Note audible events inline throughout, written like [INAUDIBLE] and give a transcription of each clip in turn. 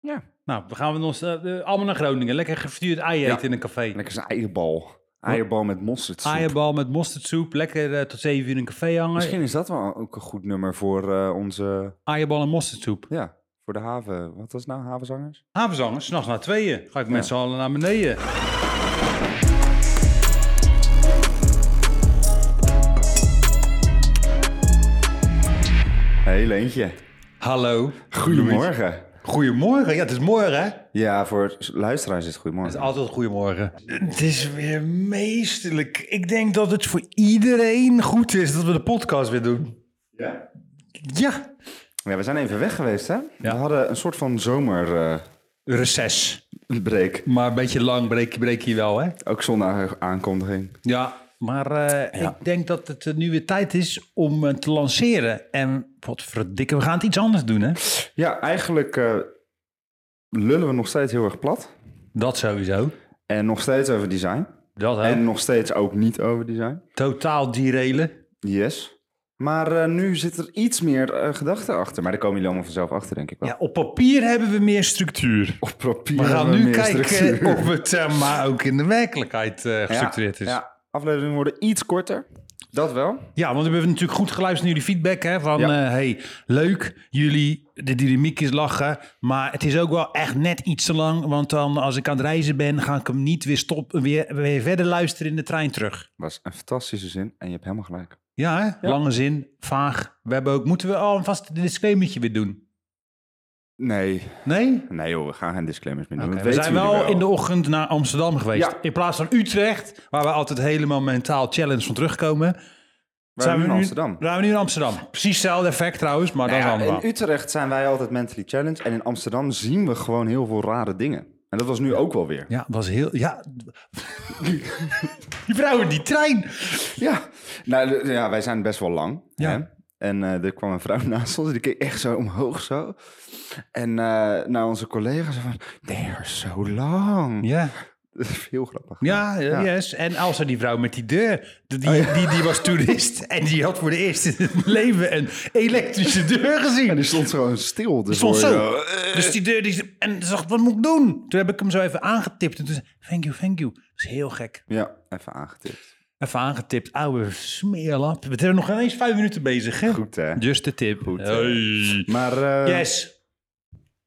Ja. Nou, dan gaan we ons eh, eh, allemaal naar Groningen. Lekker gefrituurd ei eten Ja. in een café. Lekker zijn eierbal. Eierbal met mosterdsoep. Eierbal met mosterdsoep. Lekker eh, tot zeven uur in een café hangen. Misschien is dat wel ook een goed nummer voor eh, onze... Eierbal en mosterdsoep. Ja, voor de haven... Wat was het nou? Havenzangers? Havenzangers, s'nachts na tweeën. Ga ik Ja. met z'n allen naar beneden. Hé, Leentje. Hallo. Goedemorgen. Goedemorgen. Ja, het is morgen, hè? Ja, voor luisteraars is het Het is goedemorgen. altijd goedemorgen. Het is weer meestelijk. Ik denk dat het voor iedereen goed is dat we de podcast weer doen. Ja? Ja. Ja, we zijn even weg geweest, hè? We hadden een soort van eh, zomerbreak. Reces. Maar een beetje lang breek, breek je wel, hè? Ook zonder aankondiging. Ja. Maar eh, Ja. ik denk dat het eh, nu weer tijd is om eh, te lanceren. En wat verdikken, we gaan het iets anders doen, hè? Ja, eigenlijk eh, lullen we nog steeds heel erg plat. Dat sowieso. En nog steeds over design. Dat hè? En nog steeds ook niet over design. Totaal derailen. Yes. Maar eh, nu zit er iets meer eh, gedachte achter. Maar daar komen jullie allemaal vanzelf achter, denk ik wel. Ja, op papier hebben we meer structuur. Op papier We gaan hebben nu meer kijken structuur. [LAUGHS] of het eh, maar ook in de werkelijkheid eh, gestructureerd is. Ja, ja, afleveringen worden iets korter. Dat wel. Ja, want we hebben natuurlijk goed geluisterd naar jullie feedback. Hè, van, Ja. eh, hey, leuk, jullie, de dynamiek is lachen. Maar het is ook wel echt net iets te lang. Want dan, als ik aan het reizen ben, ga ik hem niet weer, stop, weer, weer verder luisteren in de trein terug. Was een fantastische zin en je hebt helemaal gelijk. Ja, hè? lange zin, vaag. We hebben ook, moeten we alvast een disclaimertje weer doen? Nee, Nee? nee joh, we gaan geen disclaimers meer doen. Oké, Dat we weten zijn jullie wel in de ochtend naar Amsterdam geweest. Ja. In plaats van Utrecht, waar we altijd helemaal mentaal challenge van terugkomen. Waar zijn we nu in nu- Amsterdam? Zijn we nu in Amsterdam. Precies hetzelfde effect trouwens, maar dan Nou gaan ja, we. in Utrecht zijn wij altijd mentally challenged. En in Amsterdam zien we gewoon heel veel rare dingen. En dat was nu ook wel weer. Ja, het was heel. Ja. die vrouw in die trein. Ja, nou, de- ja wij zijn best wel lang. Ja. Hè? En eh, er kwam een vrouw [LAUGHS] naast ons, die keek echt zo omhoog zo. En eh, naar onze collega's van, they are so long. Ja. [LAUGHS] Dat is heel grappig. Ja, eh, Ja. Oh yes. En Elsa, die vrouw met die deur. Die, die, die, die was toerist. En die had voor de eerst in het leven een elektrische deur En gezien. die stond gewoon stil. Dus Stond hoor je zo. Dus die deur. Die, en ze dacht, wat moet ik doen? Toen heb ik hem zo even aangetipt. En toen zei ik, thank you, thank you. Dat is heel gek. Ja, even aangetipt. Even aangetipt. Oude smeerlap. We zijn nog ineens vijf minuten bezig, hè? [LAUGHS] Goed hè. Just a tip. Goed, hè. Hey. Maar eh, Yes.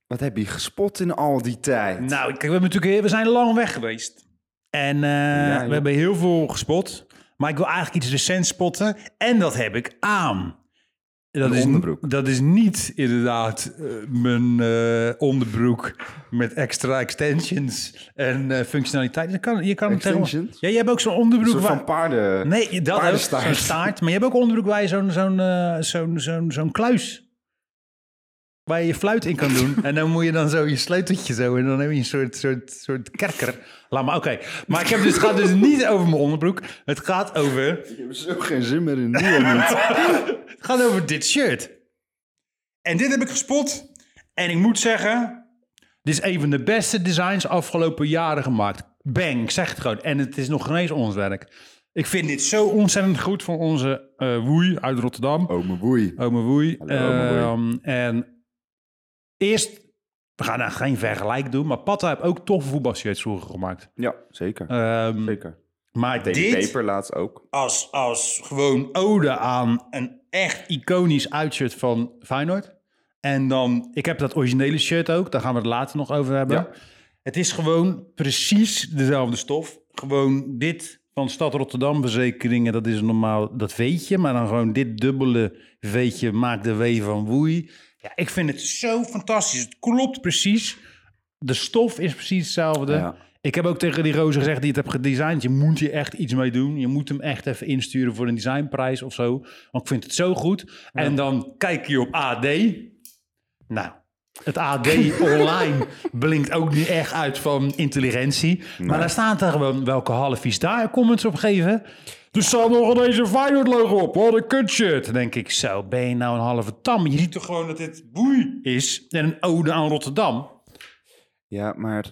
wat heb je gespot in al die tijd? Nou, kijk, we, hebben natuurlijk, we zijn lang weg geweest. En eh, joh. we hebben heel veel gespot. Maar ik wil eigenlijk iets recents spotten. En dat heb ik aan. Dat Een is, onderbroek. Dat is niet inderdaad eh, mijn eh, onderbroek met extra extensions en eh functionaliteit. Je kan, je kan hem tegenwoordig- Extensions? Ja, je hebt ook zo'n onderbroek een soort waar- van paarden... Nee, je- dat ook, eh, paardenstaart. zo'n staart. Maar je hebt ook onderbroek waar je zo'n zo'n eh, zo'n zo'n zo'n kluis... Waar je je fluit in kan doen. En dan moet je dan zo je sleuteltje zo. En dan heb je een soort, soort, soort kerker. Laat maar, oké. Maar ik heb dus, het gaat dus niet over mijn onderbroek. Het gaat over, Ik heb zo geen zin meer in [LAUGHS] nu al niet. [LAUGHS] het gaat over dit shirt. En dit heb ik gespot. En ik moet zeggen... Dit is een van de beste designs afgelopen jaren gemaakt. Bang, ik zeg het gewoon. En het is nog geen eens ons werk. Ik vind dit zo ontzettend goed van onze eh Woei uit Rotterdam. Oh, mijn boei. Ome Woei. Hallo, Ome Ehm, en eerst, we gaan nou geen vergelijk doen, maar Patta heeft ook toffe voetbalshirts vroeger gemaakt. Ja, zeker. Ehm, zeker. maar Daily dit Paper laatst ook. als, als gewoon ode aan een echt iconisch uitshirt van Feyenoord. En dan, ik heb dat originele shirt ook, daar gaan we het later nog over hebben. Ja. Het is gewoon precies dezelfde stof. Gewoon dit van Stad Rotterdam verzekeringen, dat is normaal, dat weet je. Maar dan gewoon dit dubbele veetje maakt de W van woei. Ja, ik vind het zo fantastisch. Het klopt precies. De stof is precies hetzelfde. Ja. Ik heb ook tegen die roze gezegd die het heb gedesigned. Je moet hier echt iets mee doen. Je moet hem echt even insturen voor een designprijs of zo. Want ik vind het zo goed. En dan kijk je op AD. Nou, het AD online blinkt ook niet echt uit van intelligentie. Maar daar staan daar gewoon welke halfies daar comments op geven. Er staat nog deze Feyenoord logo op. Wat een kutshirt. Dan denk ik zo, ben je nou een halve tam? Je ziet toch gewoon dat dit boei is. En een ode aan Rotterdam. Ja, maar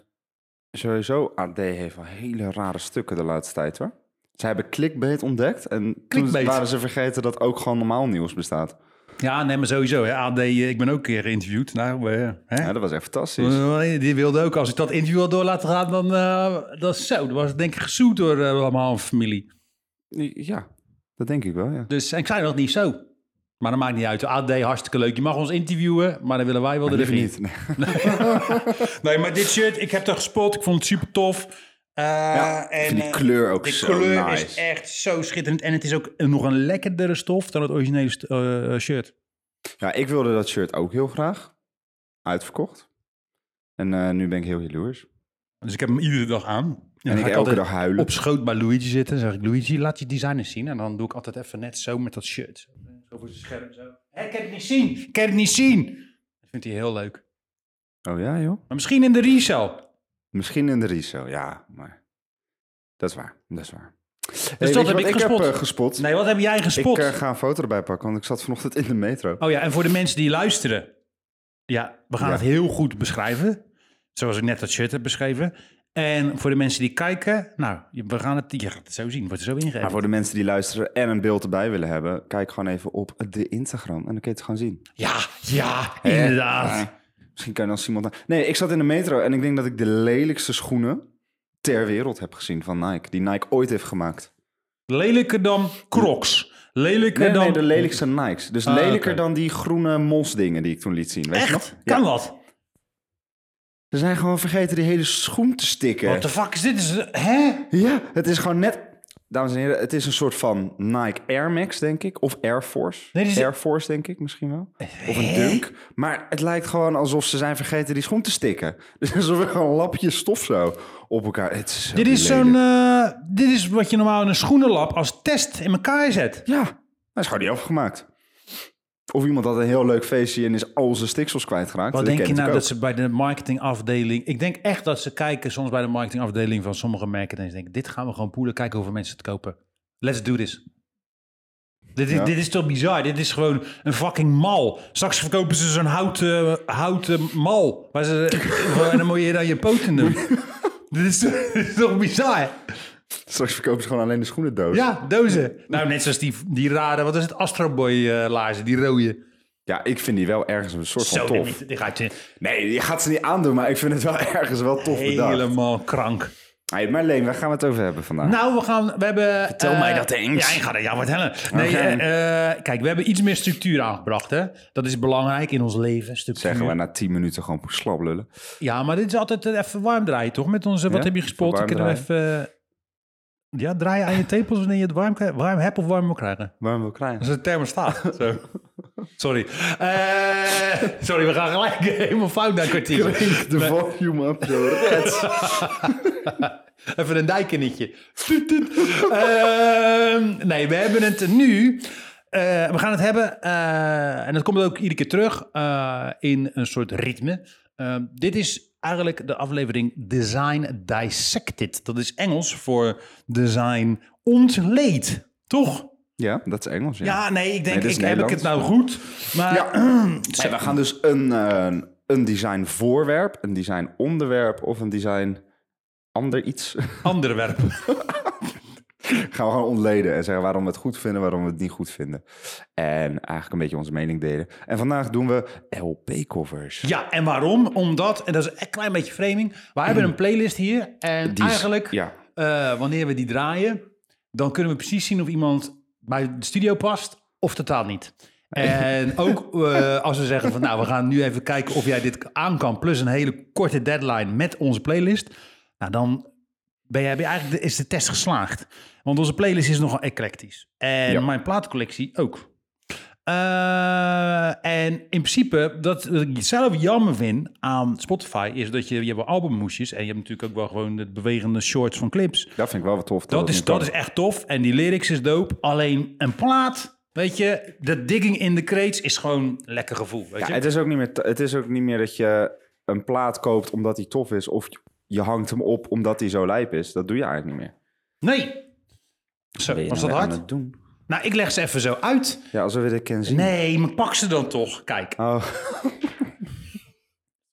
sowieso, AD heeft wel hele rare stukken de laatste tijd, hoor. Ze hebben clickbait ontdekt en Clickbait. toen waren ze vergeten dat ook gewoon normaal nieuws bestaat. Ja, nee, maar sowieso. Hè. AD, eh, ik ben ook een keer geïnterviewd. Nou, eh, hè? Ja, dat was echt fantastisch. Eh, Die wilde ook, als ik dat interview had door laten gaan, dan eh, dat is zo. Dat was denk ik gezoet door eh, allemaal een familie. Ja, dat denk ik wel, ja. Dus en ik zei dat niet zo. Maar dat maakt niet uit. De AD, hartstikke leuk. Je mag ons interviewen, maar dan willen wij wel de Liever regie. niet. Nee. [LAUGHS] Nee, maar dit shirt, ik heb er gespot. Ik vond het super tof. Eh, [LAUGHS] Ja, ik en, vind die eh, kleur ook de zo kleur nice. is echt zo schitterend. En het is ook een- nog een lekkerdere stof dan het originele st- eh, shirt. Ja, ik wilde dat shirt ook heel graag. Uitverkocht. En eh, nu ben ik heel jaloers. Dus ik heb hem iedere dag aan. En, dan ga En ik elke altijd dag huilen. op schoot bij Luigi zitten. Dan zeg ik, Luigi, laat je design eens zien. En dan doe ik altijd even net zo met dat shirt. Zo voor zijn scherm. Zo. Hé, ik heb het niet zien. Ik heb het niet zien. Dat vindt hij heel leuk. Oh ja, joh. Maar misschien in de resale. Misschien in de Riso, ja. Maar dat is waar, dat is waar. Hey, weet Dus dat je heb wat ik ik gespot. heb eh, gespot. Nee, wat heb jij gespot? Ik eh, ga een foto erbij pakken, want ik zat vanochtend in de metro. Oh ja, en voor de mensen die luisteren. Ja, we gaan Ja. het heel goed beschrijven. Zoals ik net dat shirt heb beschreven. En voor de mensen die kijken, nou, je- we gaan het, je gaat het zo zien. Wordt er zo ingegeven. Maar voor de mensen die luisteren en een beeld erbij willen hebben, kijk gewoon even op de Instagram en dan kun je het gewoon zien. Ja, ja, Hè? inderdaad. Ja. misschien kan je dan Simon. Nee, ik zat in de metro en ik denk dat ik de lelijkste schoenen ter wereld heb gezien van Nike, die Nike ooit heeft gemaakt. Lelijker dan Crocs. Lelijker Nee, nee, dan... de lelijkste Nikes. Dus Ah, lelijker oké. dan die groene mosdingen die ik toen liet zien. Weet je nog? Echt? Ja. Kan dat? Ze zijn gewoon vergeten die hele schoen te stikken. What the fuck is dit? Is, hè? Ja, het is gewoon net. Dames en heren, het is een soort van Nike Air Max, denk ik. Of Air Force. Nee, dit is- Eh, Air Force, denk ik misschien wel. Of een Dunk. Maar het lijkt gewoon alsof ze zijn vergeten die schoen te stikken. [LAUGHS] Dus alsof er gewoon lapjes stof zo op elkaar. Het is zo Dit is lelijk. zo'n... eh, dit is wat je normaal in een schoenenlab als test in elkaar zet. Ja, hij is gewoon niet afgemaakt. Of iemand had een heel leuk feestje en is al zijn stiksels kwijtgeraakt. Wat Dat denk je ken nou ik dat ook. ze bij de marketingafdeling... Ik denk echt dat ze kijken soms bij de marketingafdeling van sommige merken... en ze denken, dit gaan we gewoon poelen, kijken hoeveel mensen het kopen. Let's do this. Dit is, Ja. dit is toch bizar? Dit is gewoon een fucking mal. Straks verkopen ze zo'n houten, houten mal. Waar ze, en dan moet je dan je poten [LAUGHS] doen. dit, is, dit is toch bizar? Straks verkopen ze gewoon alleen de schoenendoos. Ja, dozen. Nou, net zoals die, die rare, wat is het? Astro Boy eh, laarzen, die rode. Ja, ik vind die wel ergens een soort Zo, van die, tof. die, die gaat je Nee, je gaat ze niet aandoen, maar ik vind het wel [LAUGHS] ergens wel tof bedacht. helemaal krank. Hey, Marleen, waar gaan we het over hebben vandaag? Nou, we gaan, we hebben... Vertel eh, mij dat eens. Ja, ik ga dat jou vertellen. Nee, Oké. eh, eh, kijk, we hebben iets meer structuur aangebracht, hè. Dat is belangrijk in ons leven, structuur. Zeggen we na 10 minuten gewoon slap lullen. Ja, maar dit is altijd eh, even warm draaien, toch? Met onze, wat Ja, heb je gespot? even Ik warm kan er even... eh, ja, draai je aan je tepels wanneer je het warm, krijgt- warm hebt of warm wil krijgen. Waarom wil Dat krijgen? is een [LAUGHS] thermostaat. Zo. Sorry. Eh, sorry, we gaan gelijk [LAUGHS] helemaal fout naar kwartier. [LAUGHS] De volume up, joh. Red. Even een dijkennetje. Tuut, tuut. [LAUGHS] Ehm, nee, we hebben het nu. eh, we gaan het hebben, eh, en dat komt ook iedere keer terug, eh, in een soort ritme. Ehm, dit is eigenlijk de aflevering Design Dissected. Dat is Engels voor design ontleed, toch? Ja, dat is Engels. Ja. Ja, nee, ik denk, dit is ik, heb ik het nou goed? Maar Ja. [CLEARS THROAT] Hey, we gaan dus een, eh, een design voorwerp, een design onderwerp of een design ander iets. [LAUGHS] andere werpen. gaan we gewoon ontleden en zeggen waarom we het goed vinden, waarom we het niet goed vinden. En eigenlijk een beetje onze mening delen. En vandaag doen we LP-covers. Ja, en waarom? Omdat, en dat is een klein beetje framing. Wij hebben een playlist hier. En Die is- eigenlijk, ja. eh, wanneer we die draaien, dan kunnen we precies zien of iemand bij de studio past of totaal niet. En ook eh, als we zeggen van nou, we gaan nu even kijken of jij dit aan kan. Plus een hele korte deadline met onze playlist. Nou, dan ben jij, ben je eigenlijk de- is de test geslaagd. Want onze playlist is nogal eclectisch. En Ja. mijn plaatcollectie ook. Eh, en in principe, dat, wat ik zelf jammer vind aan Spotify, is dat je, je hebt wel albummoesjes en je hebt natuurlijk ook wel gewoon de bewegende shorts van clips. Dat vind ik wel wat tof. Dat, is, nu dat kan. is echt tof en die lyrics is dope. Alleen een plaat, weet je, dat digging in de crates is gewoon een lekker gevoel. Weet Ja, je? het is, ook niet meer, het is ook niet meer dat je een plaat koopt omdat die tof is. Of je hangt hem op omdat hij zo lijp is. Dat doe je eigenlijk niet meer. Nee. Zo, was dat hard? doen? Nou, ik leg ze even zo uit. Ja, als we weer dit kunnen zien. Nee, maar pak ze dan toch. Kijk. Oh, [LAUGHS]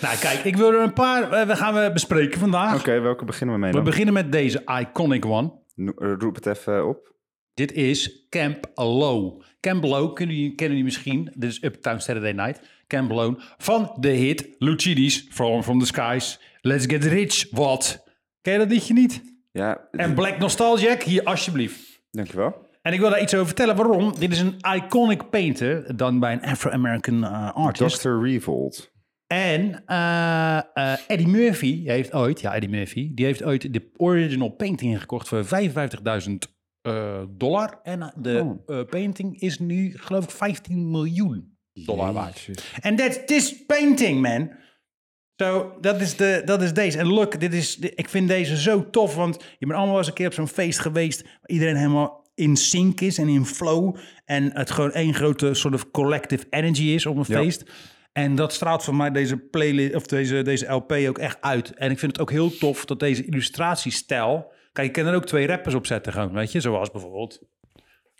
Nou, kijk, ik wil er een paar. eh, we gaan we bespreken vandaag. Oké, welke beginnen we mee We dan? beginnen met deze iconic one. No- eh, Roep het even op. Dit is Camp Low. Camp Low kunnen jullie, kennen jullie misschien. Dit is Uptown Saturday Night. Camp Low van de hit Lucidi's From From The Skies. Let's Get Rich, what? Ken je dat liedje niet? Ja, En Black Nostalgic, hier alsjeblieft. dankjewel. En ik wil daar iets over vertellen. Waarom? Dit is een iconic painter dan bij een Afro-American eh, artist. Dr. Revolt. En eh, eh, Eddie Murphy heeft ooit, ja Eddie Murphy, die heeft ooit de original painting gekocht voor 55.000 eh, dollar. En eh, de eh, painting is nu geloof ik 15 miljoen dollar waard. En that's this painting, man. Zo, dat is de- dat is deze. En look, dit is, di- ik vind deze zo tof, want je bent allemaal wel eens een keer op zo'n feest geweest... waar iedereen helemaal in sync is en in flow... en het gewoon één grote soort of collective energy is op een Ja. feest. En dat straalt voor mij deze, playlist, of deze, deze LP ook echt uit. En ik vind het ook heel tof dat deze illustratiestijl... Kijk, je kan er ook twee rappers op zetten gewoon, weet je? Zoals bijvoorbeeld...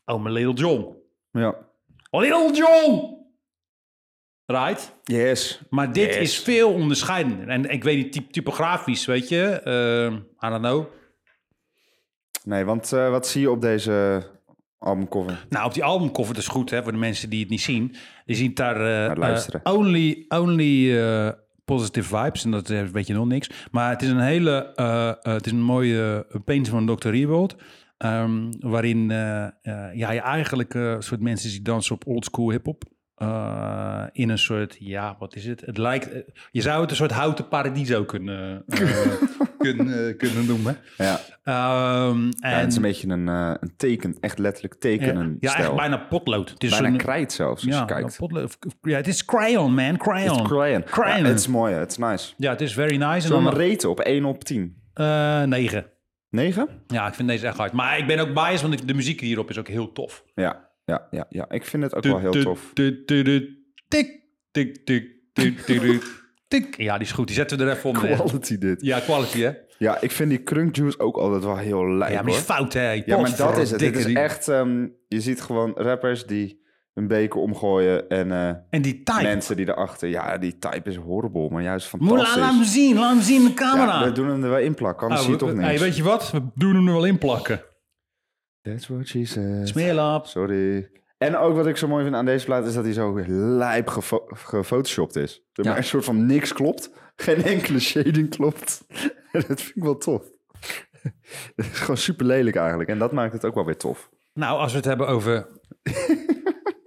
Oh, mijn Little John. Oh, Ja. Little John! Right? Yes. Maar dit Yes. is veel onderscheidender. En ik weet niet, typ- typografisch, weet je. eh I don't know. Nee, want eh, wat zie je op deze albumcover? Nou, op die albumcover, dat is goed hè, voor de mensen die het niet zien. Je ziet daar eh, Maar luisteren. eh, only, only eh, positive vibes. En dat is- weet je nog niks. Maar het is een hele, eh, eh, het is een mooie eh, painting van Dr. Rebold. ehm, waarin eh, eh, ja, je eigenlijk eh, een soort mensen die dansen op oldschool hip-hop. eh, in een soort, ja, wat is het? Het lijkt, eh, je zou het een soort houten paradiso kunnen, eh, [LAUGHS] kunnen, eh, kunnen noemen. Ja, Ehm, ja het en, is een beetje een, eh, een teken, echt letterlijk ja, tekenen. ja, echt stijl. bijna potlood. Het is bijna een- krijt zelfs, als ja, je kijkt. potlood- of- of- ja, het is crayon, man. Crayon. It's crayon. Crayon. Ja, Het is mooi, hè. het is nice. ja, het is very nice. En Zo'n dan reten op 1 op 10. eh 9. 9? Ja, ik vind deze echt hard. Maar ik ben ook biased, want ik- de muziek hierop is ook heel tof. Ja, ja, ja, ja. Ik vind het ook wel Oh, heel Tu- tof. tu- tu- tu- Tik, tik, tik, tik, tik, tik, tik. Ja, die is goed. Die zetten we er even onder. Quality dit. Ja, quality, hè? Ja, ik vind die crunk juice ook altijd wel heel lijp, Ja, maar die is hoor. fout, hè? Ja, maar dat is het. Het Potverdikke, is die- echt... ehm, je ziet gewoon rappers die een beker omgooien en eh, En die type. mensen die erachter... Ja, die type is horrible, maar juist Moet laat fantastisch. laat hem zien. Laat hem zien in de camera. Ja, we doen hem er wel in plakken, anders Oh, zie we- je toch we- niks. hey, weet je wat? We doen hem er wel in plakken. That's what she said. Smeerlaps. Sorry. En ook wat ik zo mooi vind aan deze plaat is dat hij zo lijp gefo- gefotoshopt is. Er Ja. maar een soort van niks klopt. Geen enkele shading klopt. [LAUGHS] En dat vind ik wel tof. [LAUGHS] Het is gewoon super lelijk eigenlijk. En dat maakt het ook wel weer tof. Nou, als we het hebben [LAUGHS] over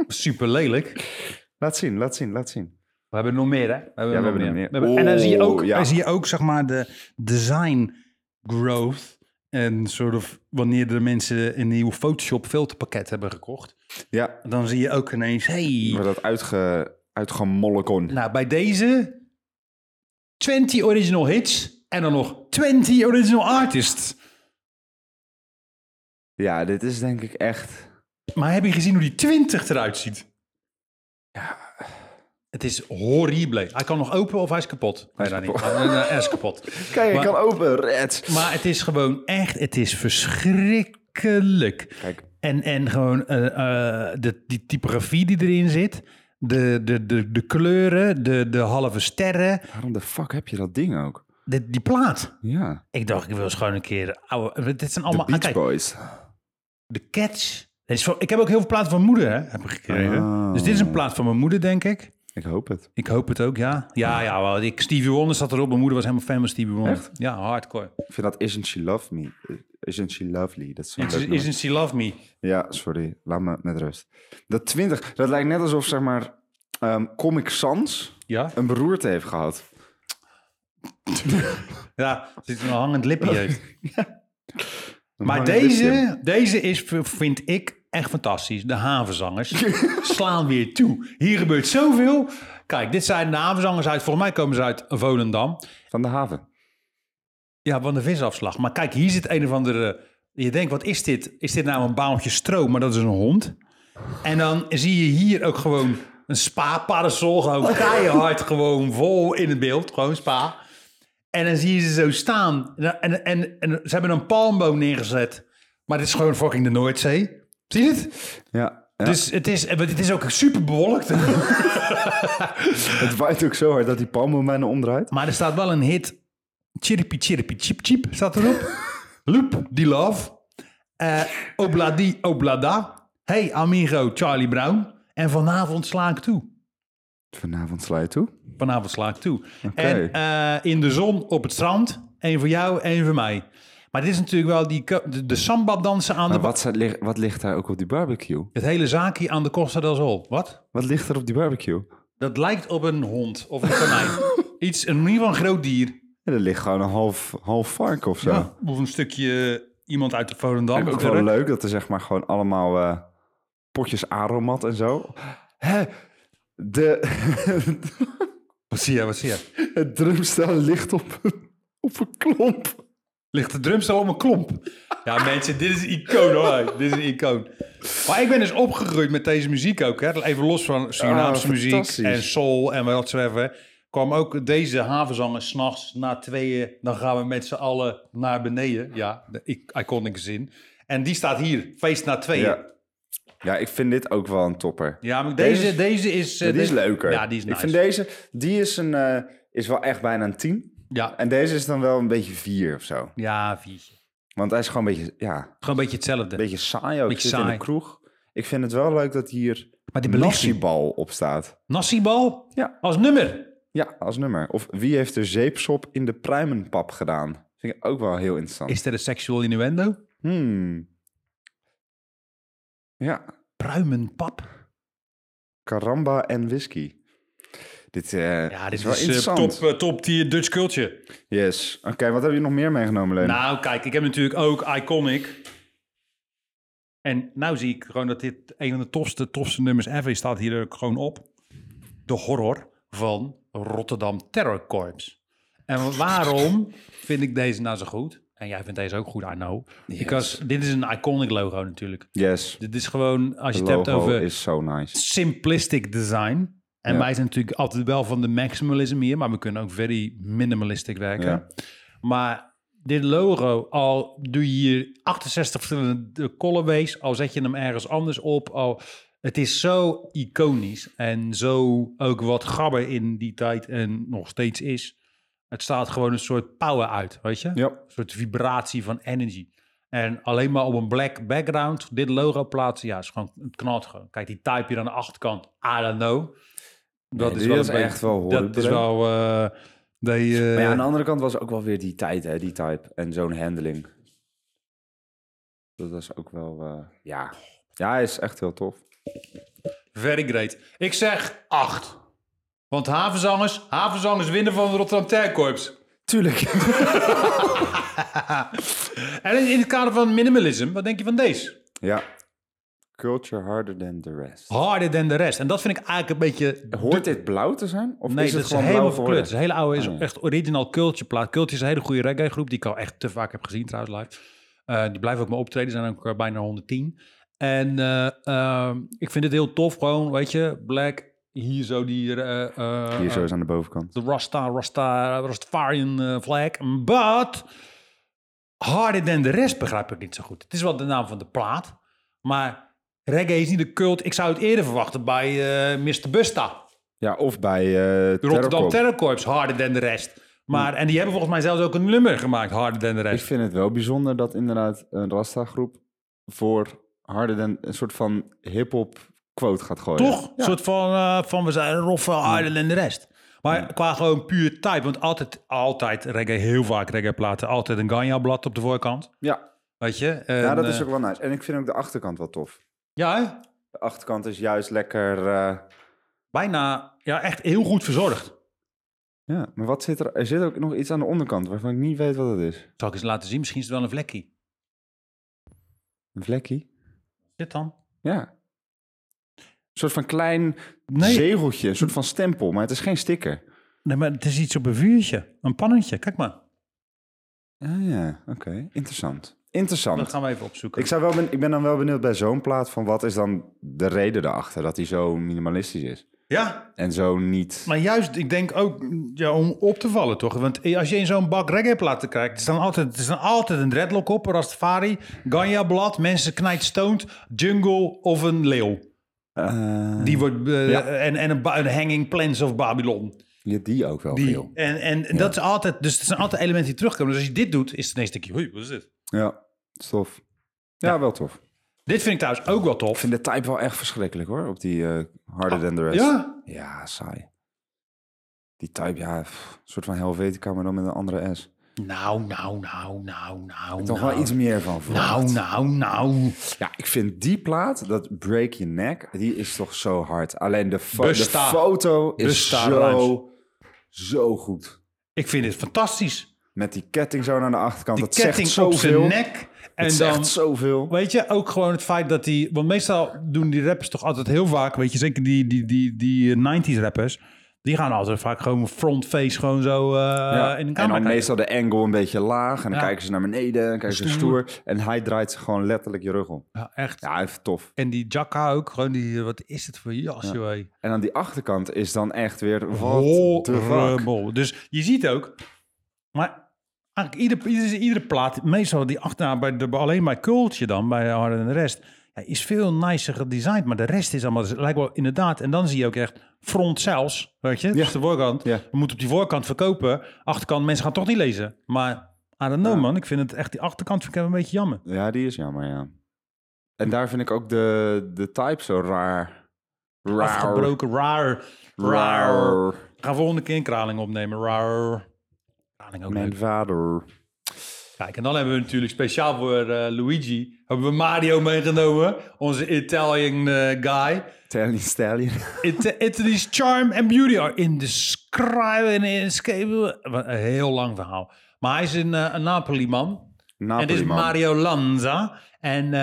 super lelijk. Laat zien, laat zien, laat zien. We hebben er nog meer, hè? We hebben Ja, er we nog hebben er meer. We hebben- en dan zie je ook, Oeh, ja. dan zie je ook zeg maar, de design growth. En soort of wanneer de mensen een nieuw Photoshop filterpakket hebben gekocht. Ja, Dan zie je ook ineens, hey, maar dat uitge, uitgemolken. nou bij deze 20 original hits en dan nog 20 original artists. Ja, dit is denk ik echt... Maar heb je gezien hoe die 20 eruit ziet? Ja. Het is horrible. Hij kan nog open of hij is kapot. Hij is, Hij is Niet. Hij is kapot. Kijk, Maar- ik kan open. Red. Maar het is gewoon echt, het is verschrikkelijk. Kijk, En, en gewoon eh, eh, de, die typografie die erin zit, de, de, de, de kleuren, de, de halve sterren, waarom de fuck heb je dat ding ook? de- die plaat. Ja, Ik dacht, ik wil eens gewoon een keer oude... Dit zijn de allemaal... ah, Beach kijk, Boys. de catch. Dit is van- ik heb ook heel veel platen van moeder hè, heb ik gekregen. Ah. Dus dit is een plaat van mijn moeder, denk ik. Ik hoop het. Ik hoop het ook, ja. Ja, ja, wel, ik, Stevie Wonder zat erop. Mijn moeder was helemaal fan van Stevie Wonder. Echt? Ja, hardcore. Ik vind dat Isn't She Love Me... Isn't She Lovely? Dat is zo'n leuk Isn't, nummer. isn't She Love Me? Ja, sorry. Laat me met rust. Dat 20, dat lijkt net alsof, zeg maar, ehm, Comic Sans Ja? een beroerte heeft gehad. Ja, er zit een hangend lipje heeft. Een Maar hangend lipje. deze, deze is, v- vind ik echt fantastisch. De [LAUGHS] havenzangers slaan weer toe. Hier gebeurt zoveel. Kijk, dit zijn de havenzangers uit. Volgens mij komen ze uit Volendam. Van de haven. Ja, van de visafslag. Maar kijk, hier zit een of andere... Je denkt, wat is dit? Is dit nou een baaltje stro? Maar dat is een hond. En dan zie je hier ook gewoon een spa-parasol. Gewoon keihard, gewoon vol in het beeld. Gewoon spa. En dan zie je ze zo staan. En, en, en, en ze hebben een palmboom neergezet. Maar dit is gewoon fucking de Noordzee. Zie je het? Ja. ja. Dus het is, het is ook super bewolkt. het waait ook zo hard dat die palm bijna omdraait. Maar er staat wel [LAUGHS] een hit. Chirpy, chirpy, chip, chip staat erop. Loop, die love. Eh, obladi, oblada. Hey amigo, Charlie Brown. En vanavond sla ik toe. Vanavond sla je toe. Vanavond sla ik toe. En eh, in de zon op het strand. Eén voor jou, één voor mij. Maar dit is natuurlijk wel die, ko- de, de samba-dansen aan de... Maar ba- wat, staat- ligt- wat ligt daar ook op die barbecue? Het hele zaakje aan de Costa del Sol. Wat? Wat ligt er op die barbecue? Dat lijkt op een hond of een [LAUGHS] konijn. Iets, in ieder geval een groot dier. Ja, er ligt gewoon een half, half varken of zo. Ja. Of een stukje eh, iemand uit de Volendam. Vind ik ook wel leuk dat er zeg maar gewoon allemaal eh, potjes aromat en zo. Hè? De, [LAUGHS] Wat zie je, wat zie je? het drumstel ligt op, een- op een klomp. Ligt de drumstel om een klomp. Ja, mensen, dit is een icoon hoor. Dit is een icoon. Maar ik ben dus opgegroeid met deze muziek ook. Hè. Even los van Surinaamse Ah, muziek fantastisch. en soul en wat whatsoever. Kwam ook deze havenzangen s'nachts na tweeën. Dan gaan we met z'n allen naar beneden. Ja, de i- iconic zin. En die staat hier, feest na tweeën. Ja, Ja. ja, ik vind dit ook wel een topper. maar deze, Deze- deze, is... eh, Ja, die is deze- leuker. Ja, die is nice. Ik vind deze, die is, een, eh, is wel echt bijna een 10. Ja, En deze is dan wel een beetje 4 of zo. ja viertje. Want hij is gewoon een beetje, ja, een Gewoon een beetje hetzelfde. beetje saai ook. Beetje Zit in saai. de kroeg. Ik vind het wel leuk dat hier maar die belasting. Nassibal op staat. Nassibal? Ja. Als nummer? Ja, als nummer. Of wie heeft er zeepsop in de pruimenpap gedaan? Vind ik ook wel heel interessant. Is er een seksual innuendo? Hmm. Ja, Pruimenpap? caramba en whisky. Dit, eh, Ja, dit is wel is, eh, interessant. top, eh, top tier Dutch culture. Yes. Oké, wat heb je nog meer meegenomen, Leen? Nou, kijk, ik heb natuurlijk ook Iconic. En nou zie ik gewoon dat dit een van de tofste, tofste nummers ever is. Staat hier ook gewoon op. De horror van Rotterdam Terror Corps. En waarom vind ik deze nou zo goed? En jij vindt deze ook goed, I know. Because dit is een iconic logo natuurlijk. yes. Dit is gewoon, als je Het het hebt logo over is zo nice. simplistic design. En Ja. wij zijn natuurlijk altijd wel van de maximalism hier, maar we kunnen ook very minimalistic werken. Ja. Maar dit logo, al doe je hier 68 verschillende colorways, al zet je hem ergens anders op, al... Het is zo iconisch en zo ook wat gabber in die tijd en nog steeds is. Het staat gewoon een soort power uit, weet je? Ja. Een soort vibratie van energy. En alleen maar op een black background dit logo plaatsen, ja, is gewoon, het knalt gewoon. Kijk, die type hier aan de achterkant, I don't know. Dat Nee, is die wel is een beetje- echt wel Dat is horribele. wel... eh de, eh, Maar ja, nou- aan de andere kant was ook wel weer die tijd, hè, die type. En zo'n handling. Dat was ook wel, eh, ja. Ja, hij is echt heel tof. Very great. Ik zeg 8. Want havenzangers, havenzangers winnen van de Rotterdam Terkorps. Tuurlijk. En in, in het kader van minimalism, wat denk je van deze? [LAUGHS] Ja. Culture harder than the rest. Harder dan de rest. En dat vind ik eigenlijk een beetje... Hoort dit blauw te zijn? Of Nee, is het dat is gewoon blauw helemaal geworden? verkleurd. Het is een hele oude, is Ah, ja. echt original Cultje plaat. Cultje is een hele goede reggae groep, die ik al echt te vaak heb gezien trouwens live. Eh, die blijven ook maar optreden, zijn ook eh, bijna 110. En eh, ehm, ik vind het heel tof gewoon, weet je, Black, hier zo die... eh, eh, Hier zo is aan de bovenkant. de Rasta, Rasta, Rastafarian eh, flag. But harder dan de rest begrijp ik niet zo goed. Het is wel de naam van de plaat, maar reggae is niet de cult. Ik zou het eerder verwachten bij eh, Mr. Busta. Ja, of bij eh Rotterdam Terrorcorp. Terror Corps, harder dan de rest. Maar, en die hebben volgens mij zelfs ook een nummer gemaakt, harder dan de Ik rest. vind het wel bijzonder dat inderdaad een Rasta groep voor harder dan een soort van hip-hop quote gaat gooien. Toch? Een soort van, eh, van we zijn roffe, harder dan de rest. Maar qua gewoon puur type, want altijd, altijd reggae, heel vaak reggae platen, altijd een Ganja-blad op de voorkant. Ja. Weet je? ja, En, dat is eh, ook wel nice. En ik vind ook de achterkant wel tof. Ja, hè? De achterkant is juist lekker... eh, bijna ja, echt heel goed verzorgd. Ja, maar wat zit er... Er zit ook nog iets aan de onderkant waarvan ik niet weet wat het is. Zal ik eens laten zien? Misschien is het wel een vlekkie. Een vlekkie? Dit dan? Ja. Een soort van klein Nee. zegeltje, een soort van stempel, maar het is geen sticker. Nee, maar het is iets op een vuurtje. Een pannetje. Kijk maar. Ah ja, oké. Interessant. Dat Interessant. gaan we even opzoeken. Ik, zou wel ben, ik ben dan wel benieuwd bij zo'n plaat van wat is dan de reden daarachter dat hij zo minimalistisch is. Ja, En zo niet... maar juist, ik denk ook mm, ja, om op te vallen, toch? Want eh, als je in zo'n bak reggae-platen kijkt, is dan altijd, is dan altijd een dreadlock op, een Rastafari, Ganja-blad, mensen knijtstoned, jungle of een leeuw. Eh, Die wordt, eh, Ja. en, en een, ba- een hanging plans of Babylon. ja, die ook wel Die, veel. en en dat is altijd, dus het zijn altijd elementen die terugkomen. Dus als je dit doet, is het ineens een stukje, hoi, wat is dit? Ja, stof. Ja, wel tof. Dit vind ik trouwens ook wel Ik tof. vind de type wel echt verschrikkelijk hoor, op die eh, Harder Than The Rest. Ja, Ja, saai. Die type, ja, pff, een soort van Helvetica, maar dan met een andere S. nou, nou, nou, nou, nou. Toch nou. wel iets meer van verwacht. Nou, nou, nou. Ja, ik vind die plaat, dat Break Your Neck, die is toch zo hard. Alleen de, fo- de Busta. foto is Busta Rhymes. zo, zo goed. Ik vind dit fantastisch. Met die ketting zo naar de achterkant, Die dat ketting zegt op zijn zoveel. nek. En het dan, eh, zegt zoveel. weet je, ook gewoon het feit dat die... Want meestal doen die rappers toch altijd heel vaak... Weet je, zeker die, die, die, die eh, 90s rappers... Die gaan altijd vaak gewoon front face gewoon zo eh, in de Ja. en camera dan kijken. meestal de angle een beetje laag. En dan Ja. kijken ze naar beneden, en kijken ze Stoer. stoer. En hij draait ze gewoon letterlijk je rug om. Ja, echt. Ja, even tof. En die jacka ook, gewoon die, wat is het voor jasje, hé. En aan die achterkant is dan echt weer wat de fuck. Horremol. Dus je ziet ook, maar eigenlijk iedere, iedere, iedere plaat, meestal die achterna, bij de, bij- alleen bij Kultje dan, bij Harder en de rest, ja, is veel nicer gedesigned, maar de rest is allemaal, dus het lijkt wel inderdaad, en dan zie je ook echt front zelfs, weet je, dat is de voorkant. Ja. We moeten op die voorkant verkopen, achterkant, mensen gaan toch niet lezen. Maar I don't know man, ik vind het echt, die achterkant vind ik een beetje jammer. Ja, die is jammer, ja. En daar vind ik ook de, de type zo raar. Raar. Afgebroken, raar, raar. Raar. Ik ga volgende keer een kraling opnemen. Raar. Kraling ook Mijn leuk. vader. Kijk, en dan hebben we natuurlijk speciaal voor eh, Luigi... hebben we Mario meegenomen. Onze Italian eh, guy. Italian Stallion. It- Italy's charm and beauty are indescribable and inescapable. Wat Een heel lang verhaal. Maar hij is een, eh, een Napoli-man. En dit Napoli, is man. Mario Lanza. En eh,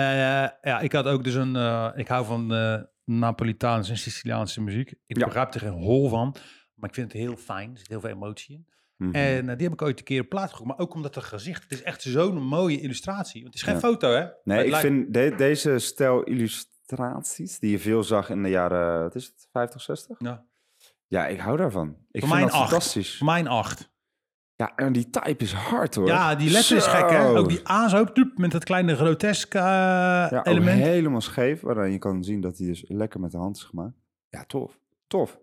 ja, ik had ook dus een... eh, ik hou van eh Napolitaanse en Siciliaanse muziek. Ik Ja. begrijp er geen hol van. Maar ik vind het heel fijn. Er zit heel veel emotie in. Mhm. En eh, die heb ik ooit een keer op plaats gekocht. Maar ook omdat het gezicht... Het is echt zo'n mooie illustratie. Want het is geen Ja. foto, hè? Maar Nee, het ik lijkt- vind de- deze stijl illustraties die je veel zag in de jaren, wat is het, 50, 60? Ja. Ja, ik hou daarvan. Ik Voor mij vind een dat acht. fantastisch. Mijn acht. Ja, en die type is hard hoor. Ja, die letter is gek, hè? Zo. Ook die A zo, tup, met dat kleine groteske eh, ja, oh, ook element. helemaal scheef. Waaraan je kan zien dat hij dus lekker met de hand is gemaakt. Ja, tof. Tof.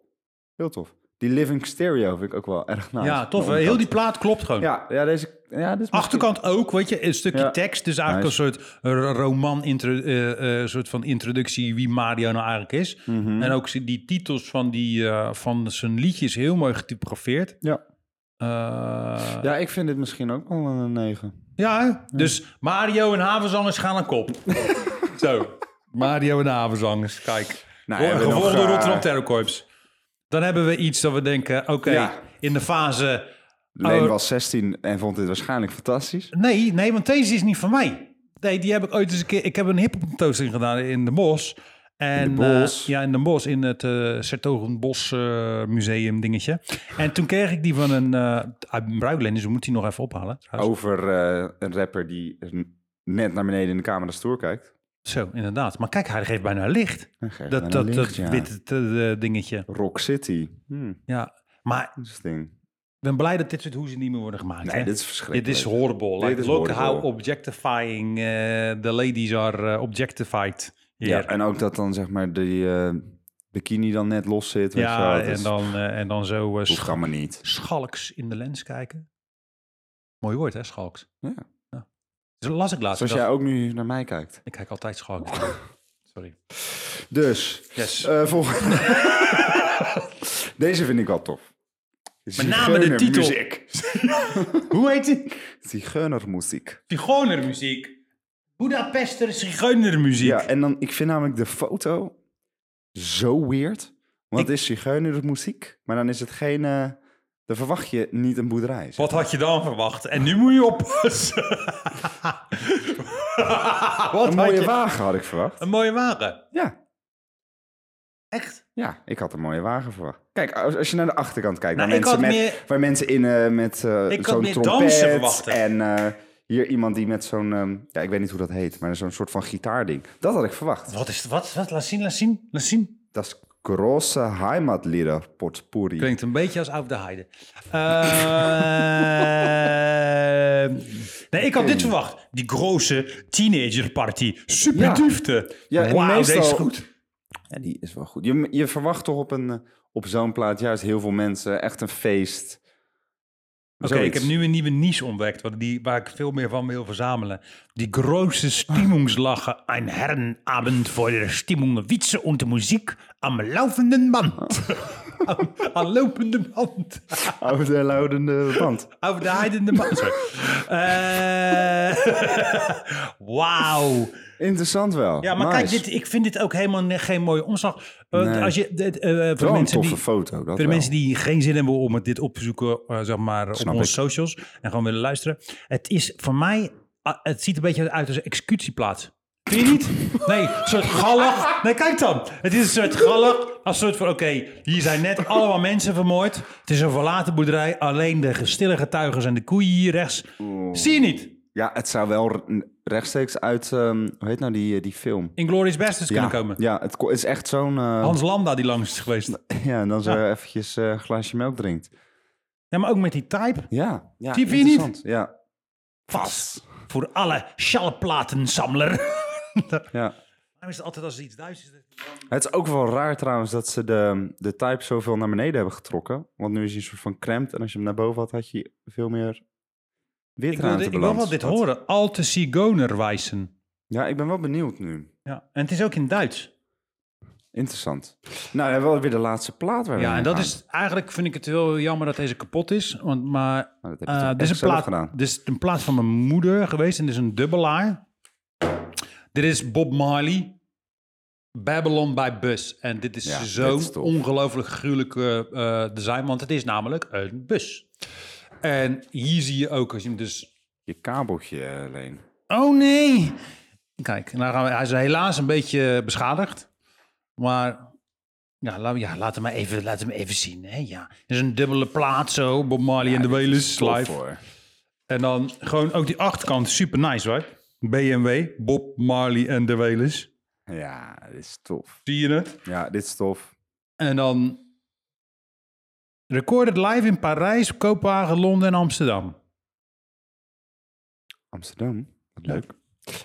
Heel tof. Die Living Stereo vind ik ook wel erg nice. ja, tof. De hè? Heel die onderkant. plaat klopt gewoon. Ja, ja, deze... Ja, dit is Achterkant ook, weet je, een stukje Ja. tekst. Dus eigenlijk een soort r- roman, intro, eh, eh, soort van introductie wie Mario nou eigenlijk is. misschien- Mhm. En ook zie- die titels van, die, eh, van zijn liedjes heel mooi getypografeerd. Ja. Eh, ja. Oh. ja, ik vind dit misschien ook wel een 9. hè? dus Mario en havenzangers gaan aan [LAUGHS] kop. Zo, Mario en havenzangers, kijk. Nou, Voor- hebben we gevolgd nog, door eh, Rotterdam Terrorcorps. Dan hebben we iets dat we denken, oké, Ja. in de fase... Leen Oh. was 16 en vond dit waarschijnlijk fantastisch. Nee, nee, want deze is niet van mij. Nee, die heb ik ooit eens een keer... Ik heb een hip toasting gedaan in de Mos. En, In de Bos? eh, ja, in de Mos, in het eh Sertogenbos eh, museum dingetje. En toen kreeg ik die van een... eh uit Bruikleen, dus we moeten die nog even ophalen. trouwens. Over eh, een rapper die net naar beneden in de camera stoer kijkt. Zo, inderdaad. Maar kijk, hij geeft bijna licht. Dat, Dat, dat, dat witte eh, dingetje. Rock City. Hm, Ja, maar interesting. ik ben blij dat dit soort hoezen niet meer worden gemaakt. Nee, hè? dit is Dit verschrikkelijk. is horrible. Like, Dit is look horrible. how objectifying eh, the ladies are eh, objectified Ja, here. en ook dat dan zeg maar die eh, bikini dan net los zit. weet je wel, Ja, dat is- en, dan, eh, en dan zo eh, Hoeft sch- allemaal niet. schalks in de lens kijken. Mooi woord, hè, schalks? Ja. Dus dat las ik laatst. Zoals Ik dacht, jij ook nu naar mij kijkt. Ik kijk altijd schalks. [LAUGHS] Sorry. Dus, Yes. eh, volgende. [LAUGHS] Deze vind ik wel tof. Met name de titel. Zigeunermuziek. [LAUGHS] Hoe heet die? Zigeunermuziek. Zigeunermuziek. Budapester zigeunermuziek. Ja, en dan, ik vind namelijk de foto zo weird. Want het is zigeunermuziek, maar dan is het geen... eh, dan verwacht je niet een boerderij. zeg. Wat had je dan verwacht? En nu moet je oppassen. [LAUGHS] Wat Een had mooie je- wagen had ik verwacht. Een mooie wagen. Ja, Echt? Ja, ik had een mooie wagen verwacht. Kijk, als, als je naar de achterkant kijkt, Nou, waar, ik mensen met, had meer- waar mensen in eh, met eh, Ik had zo'n meer trompet dansen verwacht. en eh, hier iemand die met zo'n, ehm, ja, ik weet niet hoe dat heet, maar zo'n soort van gitaarding. Dat had ik verwacht. Wat is het? Wat? Wat? Laat zien, laat zien, laat zien. Dat is grosse heimatlieder potpourri. Klinkt een beetje als Oud de Heide. Ehm, [LAUGHS] Eh, nee, ik had dit verwacht. Die grote teenagerparty. Ja. Super duifte. Ja, en Wauw, meestal- deze is goed. Ja, die is wel goed. Je, je verwacht toch op, een, eh, op zo'n plaat juist heel veel mensen, echt een feest. Oké, ik Zoiets. heb nu een nieuwe niche ontdekt, wat die, waar ik veel meer van wil verzamelen. Die grote stimmungslachen, een herrenabend voor de stimmung, witsen onder muziek, am laufenden band. Am- [LAUGHS] Aan lopende band. [LAUGHS] Oude luidende band. Over de heidende band. sorry. Eh, [LAUGHS] Wauw. Interessant wel. Ja, maar kijk, Nice. dit, ik vind dit ook helemaal ne- geen mooie omslag. Eh, Nee. Als je, dit, eh, voor Wel de een mensen toffe die, foto. Dat voor de wel. mensen die geen zin hebben om het dit op te zoeken, eh, zeg maar, op Snap onze ik. socials en gewoon willen luisteren. Het is voor mij, ah, het ziet een beetje uit als een executieplaats. Vind je niet? Nee, een soort gallig. Nee, kijk dan. Het is een soort gallig. Als soort van, oké, hier zijn net allemaal mensen vermoord. Het is een verlaten boerderij. Alleen de stille getuigen en de koeien hier rechts. Oh. Zie je niet? Ja, het zou wel re- rechtstreeks uit, ehm, hoe heet nou die, eh, die film? Inglourious Basterds Ja, kunnen komen. ja, het ko- is echt zo'n... eh, Hans Landa die langs is geweest. [LAUGHS] ja, en dan zo eventjes eh, een glaasje melk drinkt. Ja, maar ook met die type. Ja, ja Zie je niet? interessant. Ja, Vast. Voor alle schalplatensamler. ja. Waarom is het altijd als het iets Duits is? Het is ook wel raar trouwens dat ze de, de type zoveel naar beneden hebben getrokken. Want nu is hij een soort van cramped. En als je hem naar boven had, had je veel meer wit Ik wil, dit- ik wil wel dit horen. Alte Zigoner wijzen. Ja, ik ben wel benieuwd nu. Ja. En het is ook in Duits. Interessant. Nou, dan wel weer de laatste plaat waar we Ja, en heen dat gaan. is eigenlijk vind ik het wel jammer dat deze kapot is. Want, maar Nou, dat heb je eh toch dit, is echt een zelf plaat, gedaan. dit is een plaat van mijn moeder geweest. En dit is een dubbelaar. Dit is Bob Marley. Babylon by Bus. En dit is Ja, dit is zo'n tof. ongelooflijk gruwelijke eh, design. Want het is namelijk een bus. En hier zie je ook, als je hem dus Je kabeltje alleen. Oh nee! Kijk, nou gaan we, hij is helaas een beetje beschadigd. Maar ja, laat, ja, laat, hem, maar even, laat hem even zien. Hè? Ja. Het is een dubbele plaat zo. Bob Marley en de Wailers live. Voor. En dan gewoon ook die achterkant. Super nice, hoor. BMW, Bob Marley en de Wailers. Ja, dit is tof. Zie je het? Ja, dit is tof. En dan... Recorded live in Parijs, Kopenhagen, Londen en Amsterdam. Amsterdam. Wat leuk.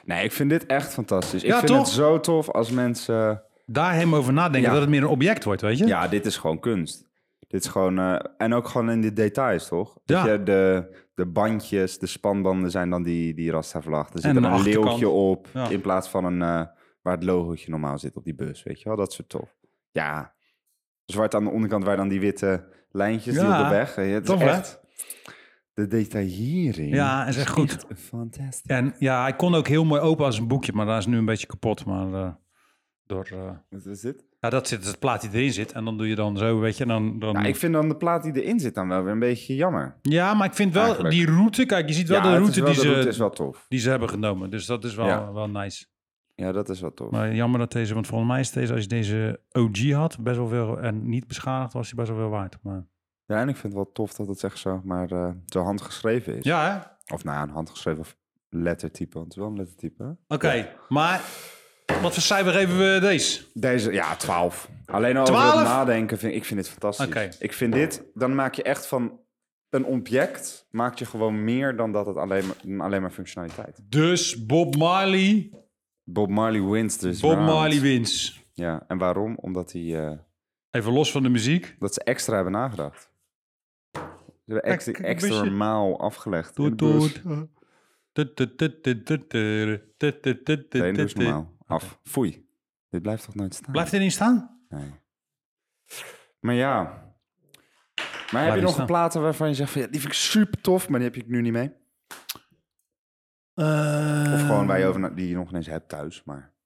Nee, ik vind dit echt fantastisch. Ik Ja, vind toch? het zo tof als mensen... Daar helemaal over nadenken Ja. dat het meer een object wordt, [LAUGHS] weet je? Ja, dit is gewoon kunst. Dit is gewoon... eh, en ook gewoon in de details, toch? Dat Ja. je de, de bandjes, de spanbanden zijn dan die, die Rasta-vlag. Er zit En dan de een achterkant. leeuwtje op Ja. in plaats van een... eh, waar het logootje normaal zit op die bus, weet je wel? Dat soort tof. Ja. Zwart aan de onderkant, waar dan die witte lijntjes die Ja. op de weg. eh, Het Tof, is hè? echt... De detaillering. Ja, en zeg goed. Fantastisch. En ja, hij kon ook heel mooi open als een boekje, maar daar is nu een beetje kapot. Maar eh, door. eh, Wat is dit? ja, dat zit het plaat die erin zit. En dan doe je dan zo, weet je. en Dan, dan... Nou, ik vind dan de plaat die erin zit dan wel weer een beetje jammer. Ja, maar ik vind wel Eigenlijk. die route. Kijk, je ziet wel de het is route, wel- die, de ze, route is wel tof. die ze hebben genomen. Dus dat is wel, Ja. wel nice. Ja, dat is wel tof. Maar jammer dat deze, want volgens mij is deze, als je deze OG had, best wel veel. En niet beschadigd, was hij best wel veel waard. Maar... Ja, en ik vind het wel tof dat het echt zo, maar eh, zo handgeschreven is. Ja, hè? Of nou, ja, een handgeschreven lettertype. Want het is wel een lettertype. hè? Oké, maar wat voor cijfer geven we deze? Deze, ja, 12. Alleen al over Twaalf? het nadenken, vind, ik vind dit fantastisch. Oké. Ik vind dit, dan maak je echt van een object, maak je gewoon meer dan dat het alleen maar, alleen maar functionaliteit. Dus Bob Marley, Bob Marley wint dus. Bob round. Marley wins. Ja, en waarom? Omdat hij... eh, Even los van de muziek. Dat ze extra hebben nagedacht. Ze hebben Kijk, extra, kijk, een extra busje. maal afgelegd. in Doet, de bus. doet. Tut, tut, tut, tut, tut, tut, tut, tut, tut, Nee, doe tut, eens tut. normaal. Af. Foei. Dit blijft toch nooit staan? Blijft erin staan? Nee. Maar ja. Maar heb Blijft je niet nog staan. platen waarvan je zegt van... Ja, die vind ik super tof, maar die heb ik nu niet mee? Eh, Of gewoon waar je over... na- die je nog niet eens hebt thuis, maar...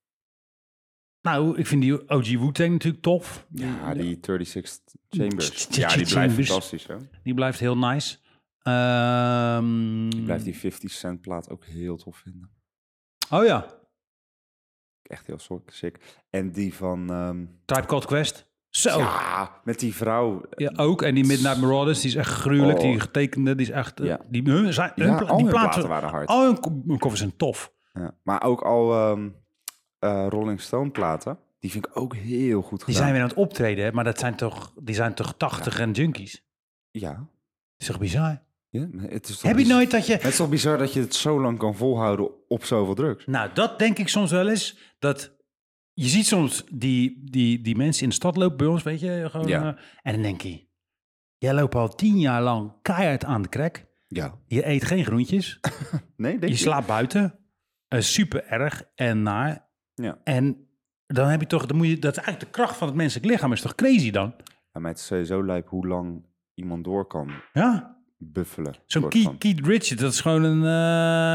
Nou, ik vind die OG Wu-Tang natuurlijk tof. Ja, ah, die 36 [LAUGHS] [LAUGHS] Chambers. Ja, Ja, die blijft Chambers. fantastisch, hè? Die blijft heel nice. Ehm, Blijft die 50 Cent plaat ook heel tof vinden. Oh ja, Echt heel so- sick. En die van... ehm, Type Called Quest. Zo. Ja. Ja, met die vrouw. ook. En die Midnight Marauders, die is echt gruwelijk. Oh. Die getekende, die is echt... eh, Ja. Die, hun, zijn, hun Ja, pla- al die hun platen- platen waren hard. Al hun ko- hun covers zijn tof. Ja. Maar ook al ehm, eh, Rolling Stone platen. Die vind ik ook heel goed Die gedaan. zijn weer aan het optreden, hè, maar dat zijn toch, die zijn toch 80 en junkies. Dat Ja. is toch bizar? ja maar het is toch Heb dus- je nou bizar- nooit dat je... Het is toch bizar dat je het zo lang kan volhouden op zoveel drugs? Nou, dat denk ik soms wel eens. Dat je ziet soms die, die, die mensen in de stad lopen bij ons, weet je. Gewoon, Ja. eh, en dan denk je, Jij loopt al tien jaar lang keihard aan de krek. Ja. Je eet geen [LAUGHS] groentjes. Nee, denk Je je? slaapt buiten. Eh, super erg en naar. Ja. En dan heb je toch, dan moet je, dat is eigenlijk de kracht van het menselijk lichaam. Is toch crazy dan? Ja, maar het is sowieso lijp hoe lang iemand door kan Ja. buffelen. Zo'n soort Keith, van. Keith Richards, dat is gewoon een...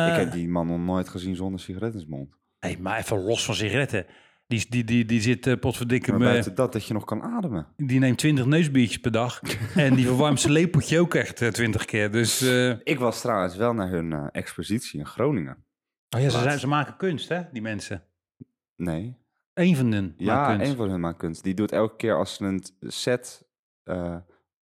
eh, Ik heb die man nog nooit gezien zonder sigaret in zijn mond. Hey, maar even los van sigaretten. Die, die, die, die zit eh, potverdikke Maar me- buiten dat, dat je nog kan ademen. Die neemt 20 neusbiertjes per dag. en die verwarmt zijn lepeltje ook echt eh, 20 keer. Dus eh, Ik was trouwens wel naar hun eh, expositie in Groningen. oh ja, ze, Laat. zijn, ze maken kunst, hè, die mensen. Nee. Eén van hun maakt Ja, kunst. een van hun maakt kunst. Die doet elke keer als ze een set eh,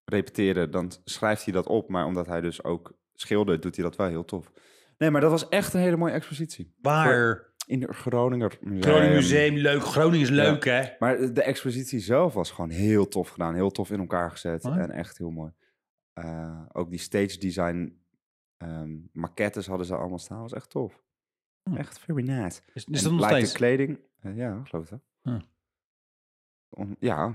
repeteren, dan schrijft hij dat op. Maar omdat hij dus ook schildert, doet hij dat wel heel tof. Nee, maar dat was echt een hele mooie expositie. Waar? In de Groninger Museum. Groningen Museum, leuk. Groningen is leuk, hè? Maar de expositie zelf was gewoon heel tof gedaan. Heel tof in elkaar gezet. Oh. En echt heel mooi. Eh, ook die stage design ehm, maquettes hadden ze allemaal staan. was echt tof. Hmm. Echt very nice. Is, is En dat nog steeds? lijkt Ah. de kleding. eh, ja, geloof ik wel. Ja. Om- ja.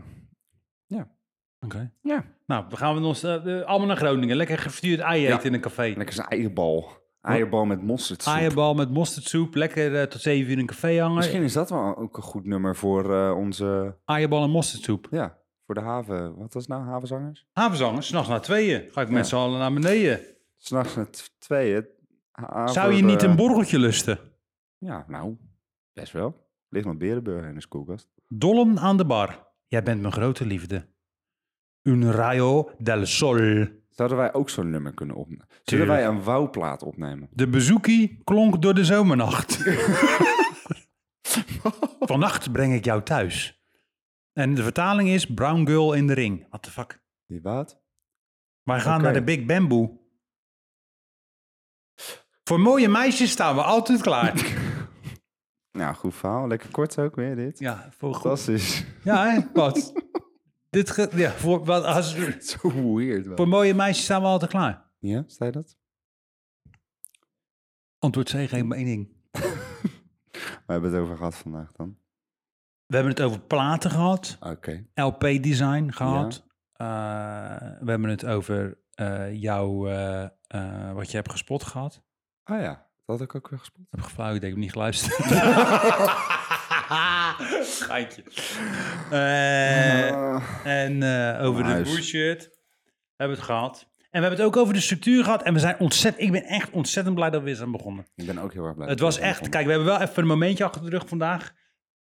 Oké. Ja. Nou, we gaan we ons eh, eh, allemaal naar Groningen. Lekker gefrituurd ei Ja. eten in een café. En lekker zijn eierbal. Eierbal met mosterd. Eierbal oh met mosterdsoep. Lekker eh, tot 7 uur in een café hangen. Misschien is dat wel ook een goed nummer voor eh, onze... Eierbal en mosterdsoep. Ja, voor de haven. Wat was het nou? Havenzangers? Havenzangers, s'nachts na tweeën. Ga ik Ja. met z'n allen naar beneden. S'nachts met tweeën. ha- Zou je haver, niet eh, een borreltje lusten? Ja, nou, best wel. Ligt nog Berenburger in de koelkast. Dollen aan de bar. Jij bent mijn grote liefde. Un rayo del sol. Zouden wij ook zo'n nummer kunnen opnemen? Zullen Tuurlijk. wij een wouwplaat opnemen? De bezoekie klonk door de zomernacht. Vannacht breng ik jou thuis. En de vertaling is Brown Girl in the Ring. What the fuck? Die wat? Wij gaan Oké. naar de Big Bamboo. Voor mooie meisjes staan we altijd klaar. Nou, goed verhaal. Lekker kort ook weer dit. ja, voor goed. Fantastisch. Ja, hè? Wat? Dit ge- ja, voor, wat als, [LAUGHS] Zo weird wel. voor mooie meisjes staan we altijd klaar. Ja, zei je dat? Antwoord C, geen mening. We hebben het over gehad vandaag dan. We hebben het over platen gehad, Oké. LP-design gehad. Eh, we hebben het over eh, jouw, eh, eh, wat je hebt gespot gehad. Ik Ah ja, dat had ik ook weer gespot. heb geflauwd, ik heb niet geluisterd. Geintje. Eh, Ah. en eh, over de Nice. bullshit hebben we het gehad. En we hebben het ook over de structuur gehad. En we zijn ontzettend, ik ben echt ontzettend blij dat we weer zijn begonnen. ik ben ook heel erg blij. Het dat was we echt, begonnen. kijk, we hebben wel even een momentje achter de rug vandaag.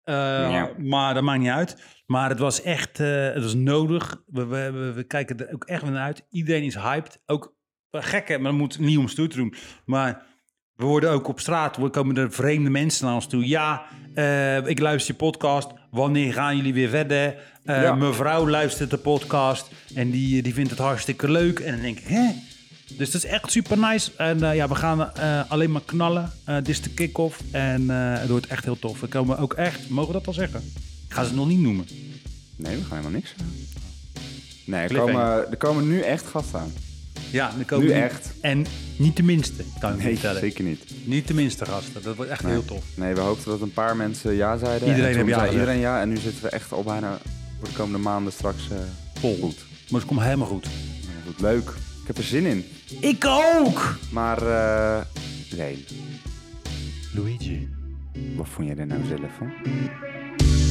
Eh, Ja. Maar dat maakt niet uit. Maar het was echt, eh, het was nodig. We, we, we, we kijken er ook echt weer naar uit. Iedereen is hyped. Ook wel gekken, maar dat moet niet om stoer te doen. Maar we worden ook op straat, we komen er vreemde mensen naar ons toe. Ja, eh, ik luister je podcast. Wanneer gaan jullie weer verder? Eh, Ja. Mevrouw luistert de podcast en die, die vindt het hartstikke leuk. En dan denk ik, hè? Dus dat is echt super nice. En eh, ja, we gaan eh, alleen maar knallen. Eh, dit is de kick-off en eh, het wordt echt heel tof. We komen ook echt, mogen we dat al zeggen? Ik ga ze nog niet noemen. Nee, we gaan helemaal niks zeggen. Nee, er Cliffhanger. komen, er komen nu echt gasten aan. Ja, dan komen Nu die- echt. En niet de minste, kan ik Nee, je vertellen. zeker niet. Niet de minste gasten. Dat wordt echt heel tof. Nee, we hoopten dat een paar mensen ja zeiden. Iedereen En toen heeft ja zei gezegd. Iedereen ja. En nu zitten we echt al bijna voor de komende maanden straks eh, Vol. Goed. Maar het komt helemaal goed. Nou, Wat leuk. Ik heb er zin in. Ik ook! Maar eh nee, Luigi. wat vond jij er nou zelf van?